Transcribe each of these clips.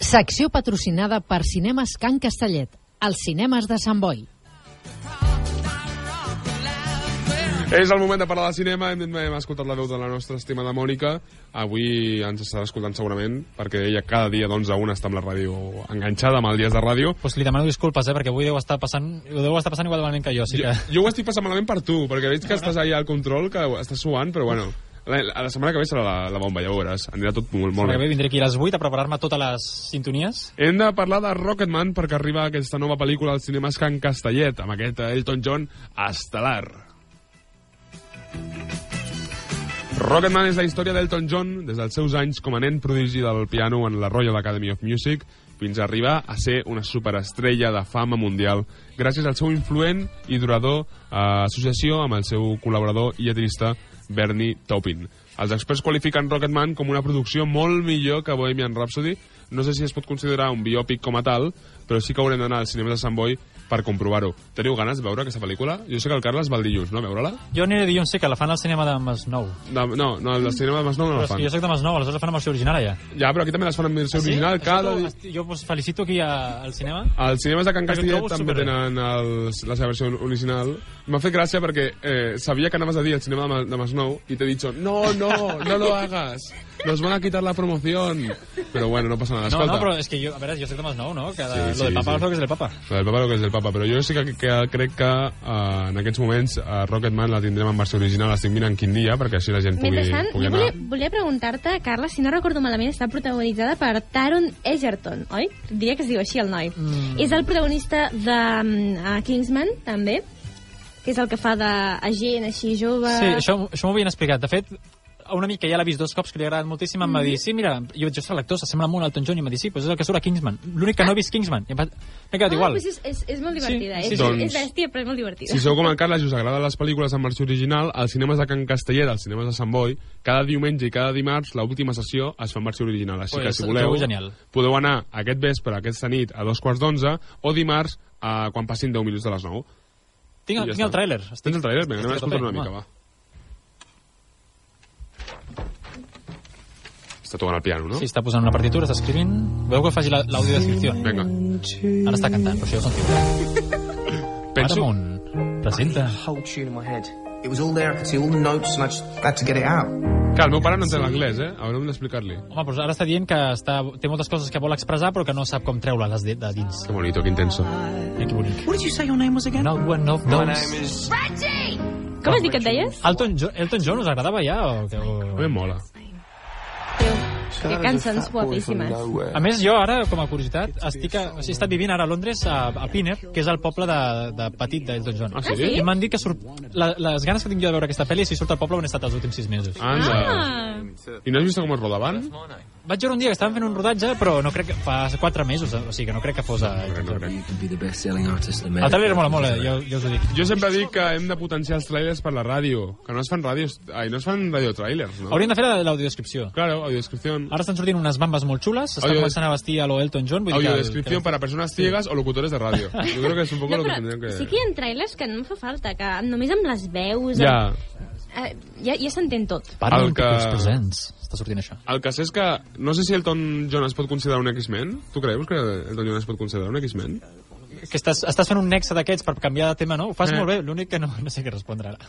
Secció patrocinada per Cinemes Can Castellet, els cinemes de Sant Boi. És el moment de parlar de cinema, hem, hem escoltat la veu de la nostra estimada Mònica. Avui ens estarà escoltant segurament, perquè ella cada dia d'11 a 1 està amb la ràdio enganxada, amb el Dies de Ràdio. Pues li demano disculpes, eh, perquè avui deu estar passant, ho deu estar passant igual de malament que jo, sí Jo, que... jo ho estic passant malament per tu, perquè veig que estàs allà al control, que estàs suant, però bueno... La, la setmana que ve serà la, la bomba, ja ho veuràs. Anirà tot molt, molt Molt bé. bé. Vindré aquí a les 8 a preparar-me totes les sintonies. Hem de parlar de Rocketman perquè arriba aquesta nova pel·lícula al cinema Can Castellet, amb aquest Elton John estel·lar. Rocketman és la història d'Elton John des dels seus anys com a nen prodigi del piano en la Royal Academy of Music fins a arribar a ser una superestrella de fama mundial gràcies al seu influent i durador eh, associació amb el seu col·laborador i lletrista Bernie Taupin. Els experts qualifiquen Rocketman com una producció molt millor que Bohemian Rhapsody. No sé si es pot considerar un biòpic com a tal, però sí que haurem d'anar al cinema de Sant Boi per comprovar-ho. Teniu ganes de veure aquesta pel·lícula? Jo sé que el Carles va el dilluns, no? A veure-la? Jo aniré dilluns, sí, que la fan al cinema de Masnou. No, no, no, el cinema de Masnou no Però la és fan. que jo soc de Masnou, aleshores la fan amb versió original, allà. Ja, però aquí també les fan amb versió original. Ah, Això Cada... t'ho- dia- esti- Jo us felicito aquí a, al cinema. Els cinemes de Can Perquè Castellet trobo també superbé. tenen els, la seva versió original. M'ha fet gràcia perquè eh, sabia que anaves a dir el cinema de, Ma- de Masnou i t'he dit no, no, no lo hagas, nos van a quitar la promoción. Però bueno, no passa nada. No, Escolta, no, però és que jo, a veure, jo soc de Masnou, no? Que de, Sí, lo sí, del papa sí. és lo que és el papa. La del papa, lo que és del papa, però jo sí que, que crec que eh, en aquests moments eh, Rocketman la tindrem en versió original, estic mirant quin dia, perquè així la gent pugui, Mentrestant, pugui jo anar. volia, volia preguntar-te, Carla, si no recordo malament, està protagonitzada per Taron Egerton, oi? Diria que es diu així el noi. Mm. És el protagonista de mm, uh, Kingsman, també, que és el que fa d'agent així jove... Sí, això, això m'ho havien explicat. De fet, a una amica ja l'ha vist dos cops, que li ha agradat moltíssim, em va dir, sí, mira, jo, jo soc l'actor, s'assembla molt al Elton John, i em va dir, sí, però és el que surt a Kingsman. L'únic que no he vist Kingsman. I em va... M'he Ah, quedat igual. Doncs és, és, és molt Sí, divertida. sí, Sí, sí, és, doncs- és bèstia, però és molt divertida. Si sou com el Carles i us agraden les pel·lícules en versió original, als cinemes de Can Castellet, als cinemes de Sant Boi, cada diumenge i cada dimarts, l'última sessió es fa en versió original. Així Pues, que, si voleu, trobo genial. podeu anar aquest vespre, aquesta nit, a dos quarts d'onze, o dimarts, a, quan passin 10 minuts de les 9. I Tinc, ja tinc el està. tràiler. Tens el trailer? Vinga, anem a estic a escoltar tope, una mica, home. va. Està tocant el piano, no? Sí, està posant una partitura, està escrivint... Veu que faci la- l'audiodescripció. Vinga. Ara està cantant, però això ja ho sentiu. Penso... Paramount presenta... The whole tune in my head. It was all there. I could see all the notes, and I just had to get it out. Que el meu pare no entén l'anglès, eh? Haurem d'explicar-li. Home, però ara està dient que està, té moltes coses que vol expressar, però que no sap com treure-les de, de dins. Que bonito, que intenso. Mira que bonic. What did you say your name was again? Not one of those... is. Com has dit que et deies? Elton, jo Elton John us agradava ja? O, que- A mi o... em mola. Doncs- Que cançons guapíssimes. A més, jo ara, com a curiositat, estic a, o sigui, he estat vivint ara a Londres, a, a Piner, que és el poble de, de petit d'Elton John. Ah, sí? I m'han dit que surt, la, les ganes que tinc jo de veure aquesta pel·li és si surt al poble on he estat els últims sis mesos. Anda. Ah, I no has vist com es rodaven? Vaig veure un dia que estaven fent un rodatge, però no crec que fa quatre mesos, eh? o sigui que no crec que fos a... No, no, crec. El trailer mola molt, eh? jo, jo us ho dic. Jo sempre dic que hem de potenciar els trailers per la ràdio, que no es fan ràdios... Ai, no es fan radiotrailers, no? Ah, Haurien de fer la- l'audiodescripció. Claro, audiodescripción. Ara estan sortint unes bambes molt xules, s'està Audio- començant a vestir a lo Elton John. Vull dir que el- Audiodescripción que... para personas ciegas o locutores de radio. Yo creo que es un poco no, lo que tendrían però que... sí que hi ha trailers que no em fa falta, que només amb les veus... Ja. Eh, ja, ja s'entén tot. Paramount El que- Pictures Presents. Està sortint això. El cas és que no sé si Elton John es pot considerar un X-Men. Tu creus que Elton John es pot considerar un X-Men? Que estàs, estàs fent un nexe d'aquests per canviar de tema, no? Ho fas Eh. molt bé, l'únic que no, no sé què respondre ara.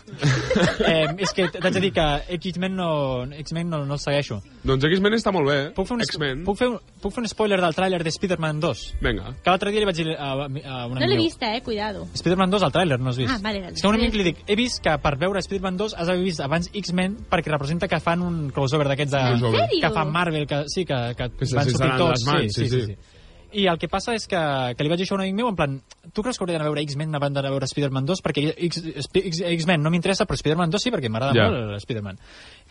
eh, és que t'haig de dir que X-Men no, X-Men no, no el segueixo. Doncs X-Men està molt bé. Puc fer un, X-Men. puc fer un, puc fer un spoiler del tràiler de Spider-Man 2? Vinga. Que l'altre dia li vaig dir a, a una No l'he millor. vista, eh? Cuidado. Spider-Man 2, el tràiler, no has vist? Ah, vale, vale. És que a un amic li dic, he vist que per veure Spider-Man 2 has d'haver vist abans X-Men perquè representa que fan un crossover d'aquests de... Crossover. En sèrio? que fa Marvel, que sí, que, que, Que se van sortir seran tots. les mans, sí, sí. I el que passa és que, que li vaig dir això a un amic meu, en plan, tu creus que hauria d'anar a veure X-Men abans d'anar a veure Spider-Man 2? Perquè X- Sp- X- X-Men no m'interessa, però Spider-Man 2 sí, perquè m'agrada Ja. molt el Spider-Man.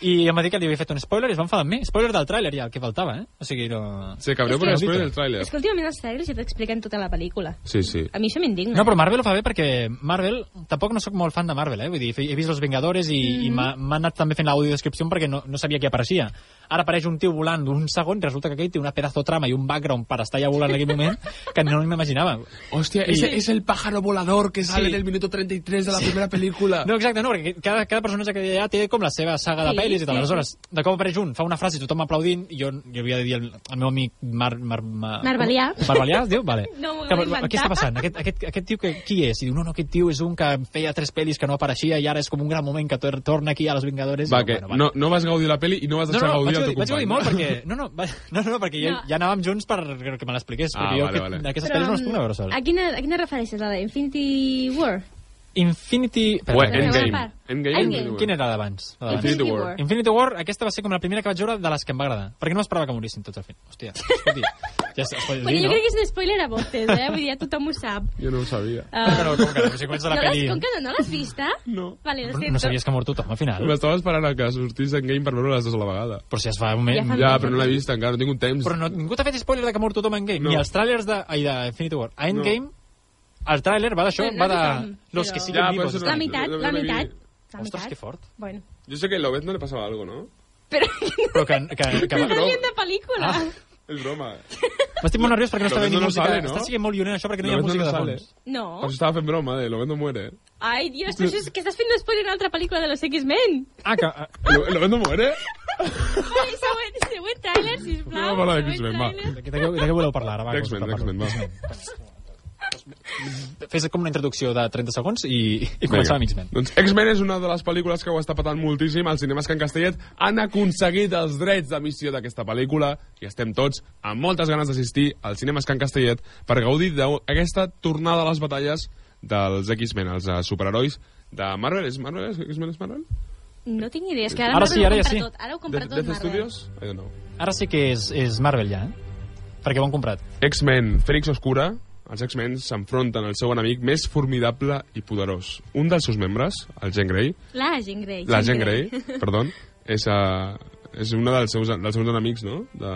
I em va dir que li havia fet un spoiler i es va enfadar amb mi. Spoiler del tràiler, ja, el que faltava, eh? O sigui, no... Se cabreó És por que el no spoiler vi- del tráiler. És que últimament els trailers ja t'expliquen tota la pel·lícula. Sí, sí. A mi això m'indigna. No, però Marvel ho fa bé perquè Marvel... Tampoc no sóc molt fan de Marvel, eh? Vull dir, he vist Els Vengadores i, mm -hmm. i m'ha- m'ha anat també fent l'audiodescripció perquè no, no sabia qui apareixia. Ara apareix un tio volant un segon, resulta que aquell té una pedazo trama i un background per estar allà volant en aquell moment que no m'imaginava. Hostia, Sí. ese es el pájaro volador que sale Sí. del minuto 33 de la primera película. No, exacte, no, perquè cada, cada personatge que hi ha té com la seva saga de Sí, pel·lis i tal. sí, Aleshores, de cop apareix un, fa una frase i tothom aplaudint, i jo, jo havia de dir al, al meu amic Mar... Mar, Mar Marbelià. Marbelià, es diu? Vale. No m'ho Que, vull inventar. què està passant? Aquest, aquest, aquest tio que, qui és? I diu, no, no, aquest tio és un que feia tres pel·lis que no apareixia i ara és com un gran moment que tor torna aquí a Los Vengadores. Va, I, que bueno, no, no vas gaudir la peli i no vas no, deixar no, gaudir vaig el gaudir, teu company. vaig gaudir molt perquè... No, no, va, no, no, perquè ja, No. ja anàvem junts per que me l'expliqués, Ah, perquè jo vale, aquest, vale. aquestes Però, mm, pel·lis no um, les puc anar a veure sol. A quina, a quina et refereixes? La d'Infinity War? Infinity... Ué, Espera, espera. Endgame. Endgame. Endgame. Endgame. Quina era d'abans? La d'abans? Infinity War. Ah, Infinity War, aquesta va ser com la primera que vaig veure de les que em va agradar. Perquè no esperava que morissin tots al final. Hòstia, escolti, ja es, es pot Bueno, dir, jo no? crec que és un spoiler a voltes, eh? Vull dir, ja tothom ho sap. Jo no ho sabia. Ah, Però com que no? Si comença la no peli- l'has- Com que no, no l'has vista? No. Vale, lo No siento. sabies que ha mort tothom al final? M'estava esperant a que sortís en game per veure les dues a la vegada. Però si es fa un moment... Ja fa- Ja, però no l'he vist encara, no tinc un temps. Però no, ningú t'ha fet spoiler de que ha mort tothom en Game. No. Ni els trailers de, ai, de Infinity War. A Endgame, el tràiler va d'això, Bueno, va no de... tothom, Los però- que Ja, siguen però vivos. això no- La meitat, la meitat. La Ostres, meitat. que fort. Bueno. Jo sé que a Lobez no li passava alguna cosa, no? Però Però que... que, que Però- parlem de pel·lícula. Ah. És broma. M'estic molt nerviós perquè no Lo està bé ves ni no música. sale, no? Està siguent molt llunyant això perquè no Lo hi ha ves no música de sale. fons. No. Per això estava fent broma, de Lobez no muere. Ai, Dios, però això és que estàs fent un spoiler a una altra pel·lícula de los X-Men. Ah, que, Lo- Lobez no muere? Ai, següent, següent tràiler, sisplau. No, va, la de següent X-Men, va. tràiler. De què, de què- de què voleu parlar ara? Va, X-Men, com us X-Men, va. Fes com una introducció de 30 segons i, i començar amb X-Men. Doncs X-Men és una de les pel·lícules que ho està patant moltíssim. Els cinemes que en Castellet han aconseguit els drets d'emissió d'aquesta pel·lícula i estem tots amb moltes ganes d'assistir als cinemes que en Castellet per gaudir d'aquesta tornada a les batalles dels X-Men, els eh, superherois de Marvel. És Marvel? És X-Men és Marvel? No tinc ni idea, és que ara, Ara Marvel sí, ara ja ho compra sí. Tot. Ara ho compra Death- tot Death Marvel. Studios? I don't know. Ara sí que és, és Marvel ja, eh? Perquè ho han comprat. X-Men, Fènix Oscura, els X-Men s'enfronten al seu enemic més formidable i poderós. Un dels seus membres, el Jean Grey, La Jean Grey. la Jean Grey, perdó, és, uh, és una dels seus, dels seus enemics, no? De...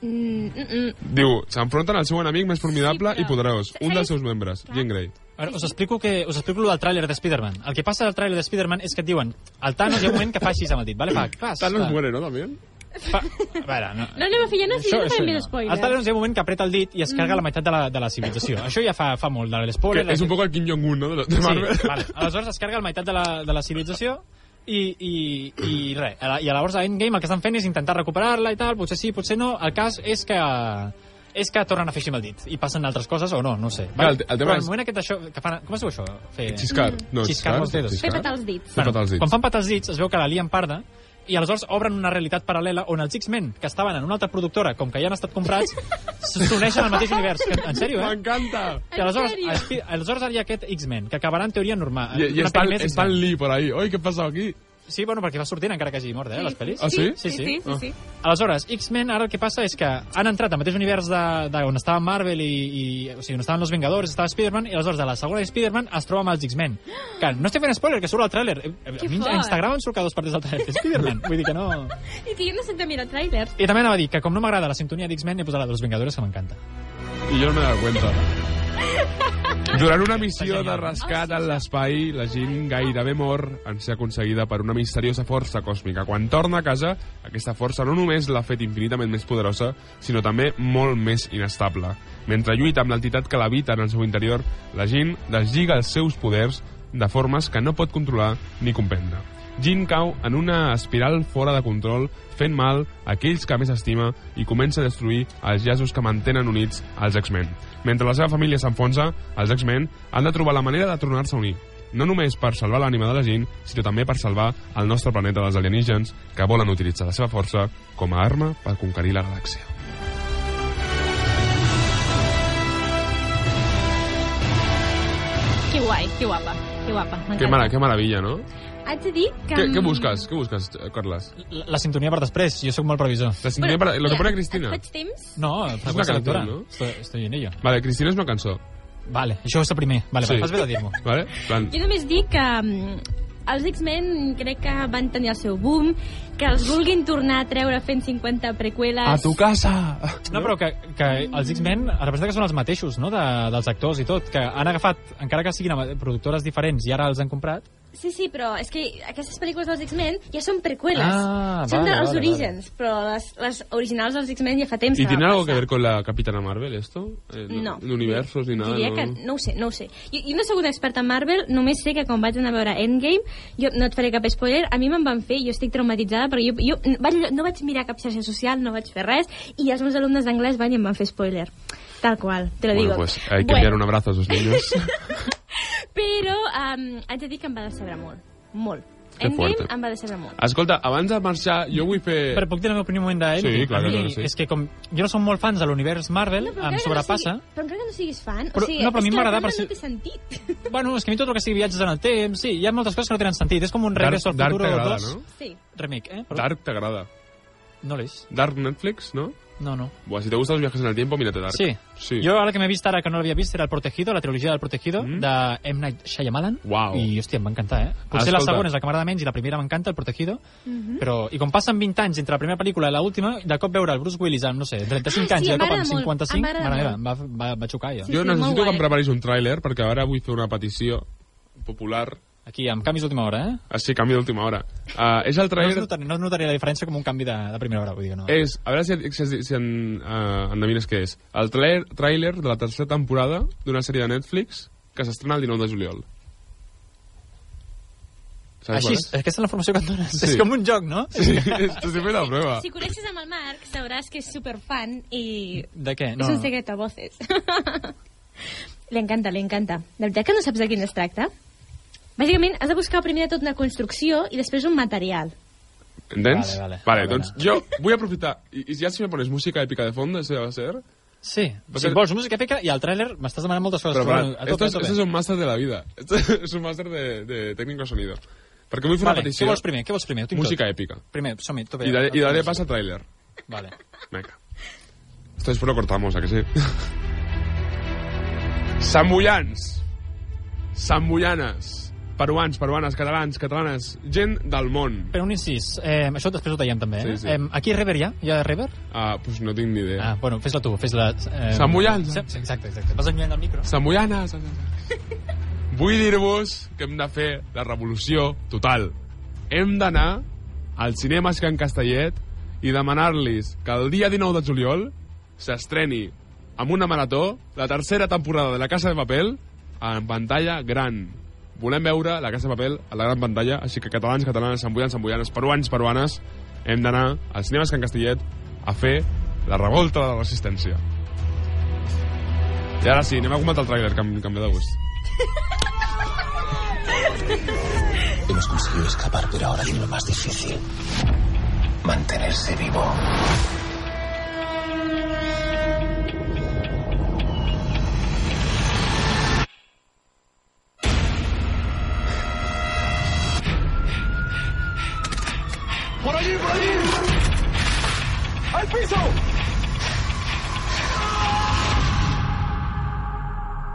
Mm, mm, mm. Diu, s'enfronten al seu enemic més formidable Sí, però- i poderós. Un dels seus membres, Clar. Jean Grey. A veure, us explico, que, us explico lo del tràiler de Spider-Man. El que passa al tràiler de Spider-Man és que et diuen el Thanos hi ha un moment que fa així amb el dit, vale? Fa, fas, Thanos fa, muere, no, també? Fa, a veure, no, No, anem a fer, ja no, això, no farem més El spoilers. Thanos hi ha un moment que apreta el dit i es carga la meitat de la, de la civilització. Això ja fa, fa molt de Mm. Que l'espoiler. és un poc el Kim Jong-un, no? De, de Marvel. Sí, vale. Aleshores es carga la meitat de la, de la civilització i, i, i res. A la- I llavors a Endgame el que estan fent és intentar recuperar-la i tal, potser sí, potser no. El cas és que és que tornen a fer així amb el dit i passen altres coses o no, no ho sé. Clar, el te- el tema Però és- el moment aquest això... Que fan, com es diu això? Fer... Xiscar. No, Xiscar amb els dedos. Fer petar els dits. Fer petar els dits. Quan fan petar els dits es veu que la lien parda i aleshores obren una realitat paral·lela on els X-Men, que estaven en una altra productora, com que ja han estat comprats, s'uneixen al mateix univers. Que, en sèrio, eh? M'encanta! I aleshores, sèrio? Spi- aleshores hi ha aquest X-Men, que acabarà en teoria normal. I, i Una estan, pel·li més estan X-Men. Lee per ahí. Oi, què passa aquí? Sí, bueno, perquè va sortint encara que hagi mort, eh, les pel·lis. Ah, sí? Sí, sí, sí. sí, sí. Aleshores, X-Men, ara el que passa és que han entrat al mateix univers de, de on estava Marvel i, i... O sigui, on estaven els Vengadors, estava Spider-Man, i aleshores de la segona de Spider-Man es troba amb els X-Men. Que no estic fent spoiler, que surt el tràiler. Eh, A Que mi fort. a Instagram em surt cada dos partits del tràiler de Spider-Man. Vull dir que no... I que jo no sé de mirar trailers. I també anava a dir que com no m'agrada la sintonia d'X-Men, he posat la dels Vengadores, que m'encanta. I jo no m'he donat cuenta. Durant una missió de rescat en l'espai, la gent gairebé mor en ser aconseguida per una misteriosa força còsmica. Quan torna a casa, aquesta força no només l'ha fet infinitament més poderosa, sinó també molt més inestable. Mentre lluita amb l'entitat que l'habita en el seu interior, la gent deslliga els seus poders de formes que no pot controlar ni comprendre. Jean cau en una espiral fora de control, fent mal a aquells que més estima i comença a destruir els llaços que mantenen units als X-Men. Mentre la seva família s'enfonsa, els X-Men han de trobar la manera de tornar-se a unir. No només per salvar l'ànima de la Jean, sinó també per salvar el nostre planeta dels alienígens que volen utilitzar la seva força com a arma per conquerir la galàxia. Que guai, que guapa, que guapa. Que, m'encanta. mara, que meravella, no? Haig de dir que... mm, Què, què busques? Què busques, eh, Carles? La, la sintonia per després, jo sóc molt previsor. La sintonia per... Lo que pone Cristina. Et faig temps? No, freqüència cantant, lectora. no? Estoy, estoy en ello. Vale, Cristina és una cançó. Vale, això és el primer. Vale, Sí. sí. fas bé de dir-m'ho. Vale? Plan, Jo només dic que mm, els X-Men crec que van tenir el seu boom, que els vulguin tornar a treure fent 50 prequeles... Ah, A tu casa. No, però que, que els X-Men representa que són els mateixos, no?, de, dels actors i tot, que han agafat, encara que siguin ama- productores diferents i ara els han comprat, Sí, sí, però és que aquestes pel·lícules dels X-Men ja són preqüeles. Ah, són vale, dels vale, orígens, però les, les originals dels X-Men ja fa temps ¿Y que tiene van algo que passar. ver con la Capitana Marvel esto? Eh, No. De universos ni nada. Diria no? que no ho sé, no ho sé. Jo, jo no soc una experta en Marvel, només sé que quan vaig anar a veure Endgame, jo no et faré cap spoiler, a mi me'n van fer, jo estic traumatitzada, però jo, jo n- vaig, no vaig mirar cap xarxa social, no vaig fer res, i els meus alumnes d'anglès van i em van fer spoiler. Tal qual, te lo Bueno, digo. pues hay que enviar un abrazo a esos niños. Però um, haig de dir que em va decebre molt, molt. Que Endgame fuerte. em va decebre molt. Escolta, abans de marxar, jo vull fer... Però puc dir el meu primer moment d'ell? Sí, clar A que mi no, sí. És que com jo no som molt fans de l'univers Marvel, però em encara que sobrepassa. No sigui, però encara que no siguis fan, Però- o sigui, no, però a mi és que la m'agrada trama per no té sentit. Bueno, és que a mi tot el que sigui viatges en el temps, sí, hi ha moltes coses que no tenen sentit. És com un Dark, regreso al Dark futuro t'agrada, 2. no? Sí. Remake, eh? Però Dark t'agrada. No l'és. Dark Netflix, ¿no? No, no. Buah, si te gustan los viajes en el tiempo, mírate Dark. Sí. Sí. Jo ara que m'he vist ara que no l'havia vist era El Protegido, la trilogia del Protegido, Mm. mm. de M. Night Shyamalan. Uau. I, hòstia, em va encantar, eh? Potser Escolta. la segona és la que m'agrada menys i la primera m'encanta, El Protegido. Mhm. però, I com passen 20 anys entre la primera pel·lícula i l'última, de cop veure el Bruce Willis amb, no sé, 35 Ah, anys i sí, de em cop m'agrada amb molt. 55, Em m'agrada mare meva, em va, va, va xocar, jo. Sí, jo sí, molt necessito que guai. em preparis un tràiler, perquè ara vull fer una petició popular. Aquí, amb canvis d'última hora, eh? Així, canvi d'última hora. Uh, és el No, es tràiler... notar, no es notaria la diferència com un canvi de, de primera hora, vull dir que no. És, a veure si, si, si en, uh, endevines què és. El tràiler tràiler de la tercera temporada d'una sèrie de Netflix que s'estrena el 19 de juliol. Saps Així, és, aquesta és la informació que et dones. Sí. És com un joc, no? Sí, t'estic fent la prova. Ah. Si coneixes amb el Marc, sabràs que és superfan i De què? No. No. Es un secreto a voces. li encanta, li encanta. De veritat que no saps de quin es tracta? Bàsicament, has de buscar primer de tot una construcció i després un material. Entens? Vale, vale. vale Vale, doncs vale. jo vull aprofitar... I, i ja si me pones música èpica de fons, això va ser... Sí. Perquè- Si vols música èpica i el tràiler, m'estàs demanant moltes coses. Però, però però, bueno, a esto, tope, es, a tope. esto es un máster de la vida. Esto es un máster de, de técnico de sonido. Perquè vull fer una Vale, petició. què vols primer? Què vols primer? Ho tinc Música tot. èpica. Primer, som-hi, tope. I daré, y daré pas al tráiler. Vale. Venga. Esto después lo cortamos, ¿a que sí? Sambullans. Sambullanes. Peruans, peruanes, catalans, catalanes. Gent del món. Però un incís, eh, això després ho tallem també, Sí, eh? sí. Eh, aquí Rever hi ha? Hi ha Rever? Ah, pues no tinc ni idea. Ah, bueno, fes-la tu, fes-la... Eh, Sambullans. Sí, sí, exacte, exacte. Vas enlluent el micro. Sambullanes. Vull dir-vos que hem de fer la revolució total. Hem d'anar al cinema Can Castellet i demanar-los que el dia 19 de juliol s'estreni amb una marató la tercera temporada de La Casa de Papel en pantalla gran. Volem veure La Casa de Papel a la gran pantalla, així que catalans, catalanes, sambullanes, sambullanes, peruans, peruanes, hem d'anar al cinema Can Castellet a fer la revolta de la resistència. I ara sí, anem a comentar el tràiler, que, em- que em ve de gust. Hemos conseguido escapar, pero ahora viene lo más difícil. Mantenerse vivo.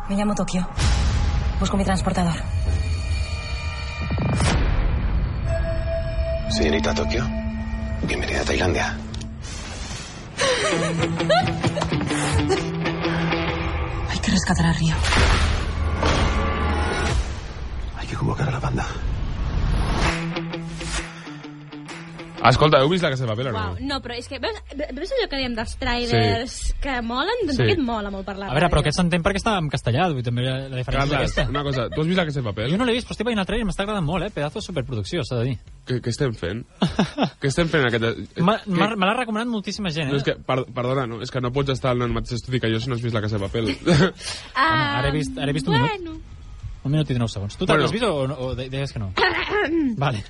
Me llamo Tokio. Busco mi transportador. Señorita Tokio, bienvenida a Tailandia. Hay que rescatar a Río. Hay que convocar a la banda. Escolta, heu vist la Casa de Papel o no? Uau, no, però és que veus, veus allò que dèiem dels trailers sí. que molen? Doncs Sí. sí. aquest mola molt parlar. A veure, però aquest s'entén perquè està en castellà, vull dir, també la la diferència és Carles, aquesta. una cosa, tu has vist la Casa de Papel? Jo no l'he vist, però estic veient el trailer i m'està agradant molt, eh? Pedazo de superproducció, s'ha de dir. Què, què estem fent? què estem fent en aquest... Ma- Eh, Què- m'ha- Me l'ha recomanat moltíssima gent, eh? No, és que, per, perdona, no, és que no pots estar en el mateix estudi que jo si no has vist la Casa de Papel. Ah, ara he vist- ara he vist un bueno, minut. Un minut i 19 segons. Tu Bueno. bueno. t'has vist o, o, o de- deies que no? vale.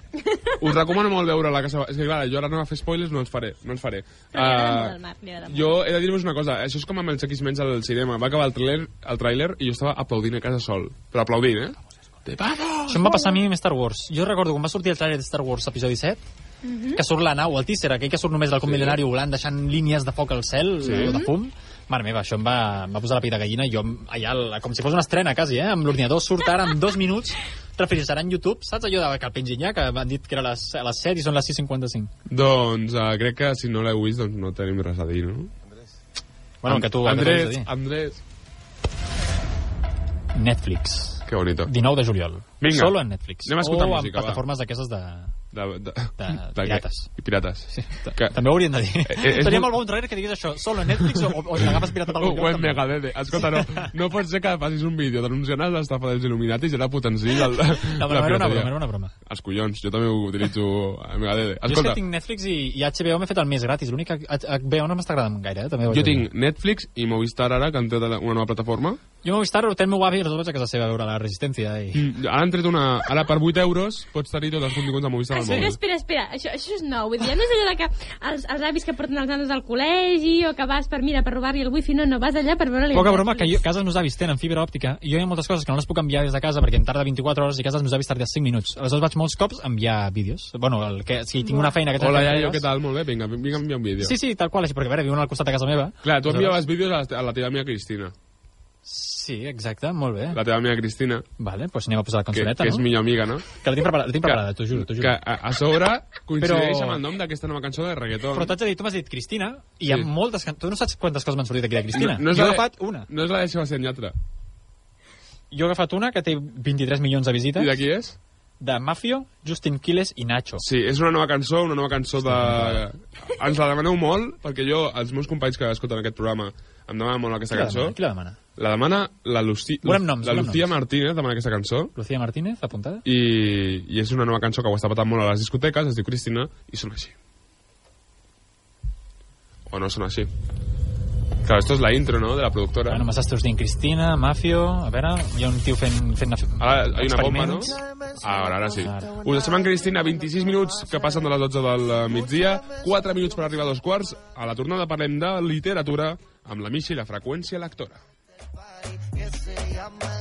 Us recomano molt veure la Casa de Papel. És que, clar, jo ara no a fer spoilers, no els faré. No els faré. Però li agrada molt Ah, al Marc, li agrada molt. jo he de dir-vos una cosa, això és com amb els X-Men's al cinema. Va acabar el tràiler, el tràiler i jo estava aplaudint a casa sol. Però aplaudint, eh? Te vamos! Això em va passar a mi amb Star Wars. Jo recordo quan va sortir el trailer de Star Wars episodi 7, mm -hmm. que surt la nau, el teaser, aquell que surt només del com mil·lenari volant, deixant línies de foc al cel, sí. de fum. Mare meva, això em va, em va posar la pell de gallina. Jo em- allà, la- com si fos una estrena, quasi, eh? Amb l'ordinador surt ara en dos minuts, refrescarà en YouTube. Saps allò de que el pengin ja, que han dit que era a les, a les 7 i són les 6.55? Doncs eh, crec que si no l'heu vist, doncs no tenim res a dir, no? Bueno, que tu... que tu has de Andrés, dir. Andrés, Netflix. Qué bonito. 19 de juliol. Vinga. Solo en Netflix. Anem a escoltar o música, va. en plataformes d'aquestes de... De, de, De què? pirates. I pirates. Que- També ho hauríem de Eh, dir. eh, Eh, és Seria molt- molt bon trailer que digués això, solo en Netflix o, o te l'agafes piratat al O, o en Megadede. Escolta, no, no pot ser que facis un vídeo denunciant l'estafa dels Illuminati i ara potenciï el, la, No, però era una broma, era una broma. Els collons, jo també ho utilitzo a Megadede. Jo és Escolta, que tinc Netflix i, i HBO m'he fet el més gratis. L'únic que H- HBO no m'està agradant gaire. eh, També ho jo haig de dir. tinc Netflix i Movistar ara, que han tret una nova plataforma. Jo m'ho he vist ara, ho té el meu avi i els vaig a casa seva a veure la resistència. I... Mm, Ara han tret una... Ara per 8 euros pots tenir tots els continguts de Ah, Movistar al Espera, mòbil. espera, espera, això, això és nou. Vull dir, ja no és allò de que els, els avis que porten els nanos al col·legi o que vas per, mira, per robar-li el wifi, no, no, vas allà per veure-li... Poca broma que jo, cases meus avis tenen fibra òptica i jo hi ha moltes coses que no les puc enviar des de casa perquè em tarda 24 hores i cases meus avis tarda 5 minuts. Aleshores vaig molts cops a enviar vídeos. Bueno, el que, si tinc una feina que... Hola, trenta iaio, dies- què tal? Molt bé, vinga, vinga, envia un vídeo. Sí, sí, tal qual, així, perquè a veure, viuen al costat de casa meva. Clar, tu enviaves vídeos a la, a la teva amiga Cristina. Sí, exacte, molt bé. La teva amiga Cristina, Vale, doncs anem a posar la que, cançoneta, que és no? millor amiga, no? Que la tinc preparada, la tinc preparada, t'ho juro, t'ho Que juro. a, a sobre coincideix Però- amb el nom d'aquesta nova cançó de reggaeton. Però t'haig de dir, tu m'has dit Cristina, i hi ha Sí. moltes... can- Tu no saps quantes coses m'han sortit aquí de Cristina. és jo he la de- agafat una. No és la de Sebastián Yatra. Jo he agafat una que té 23 milions de visites. I de qui és? de Mafio, Justin Quiles i Nacho. Sí, és una nova cançó, una nova cançó de... Ens la demaneu molt, perquè jo, els meus companys que escolten aquest programa, em demanen molt aquesta Qui la cançó. demana? Qui la demana? La demana la, Luci... Volem noms, la volem Lucía noms. Martínez, demana aquesta cançó. Lucía Martínez, apuntada? I, I és una nova cançó que ho està patant molt a les discoteques, es diu Cristina, i sona així. O no sona així. Clar, esto es la intro, ¿no?, de la productora. Ara només estàs dient Cristina, Mafio... A veure, hi ha un tio fent... fent Ara hi ha una bomba, no? experiments. Ara, ara sí. Ara. Us deixem en Cristina 26 minuts que passen de les 12 del eh, migdia, 4 minuts per arribar a dos quarts. A la tornada parlem de literatura amb la Misha i la freqüència lectora. party, que se llama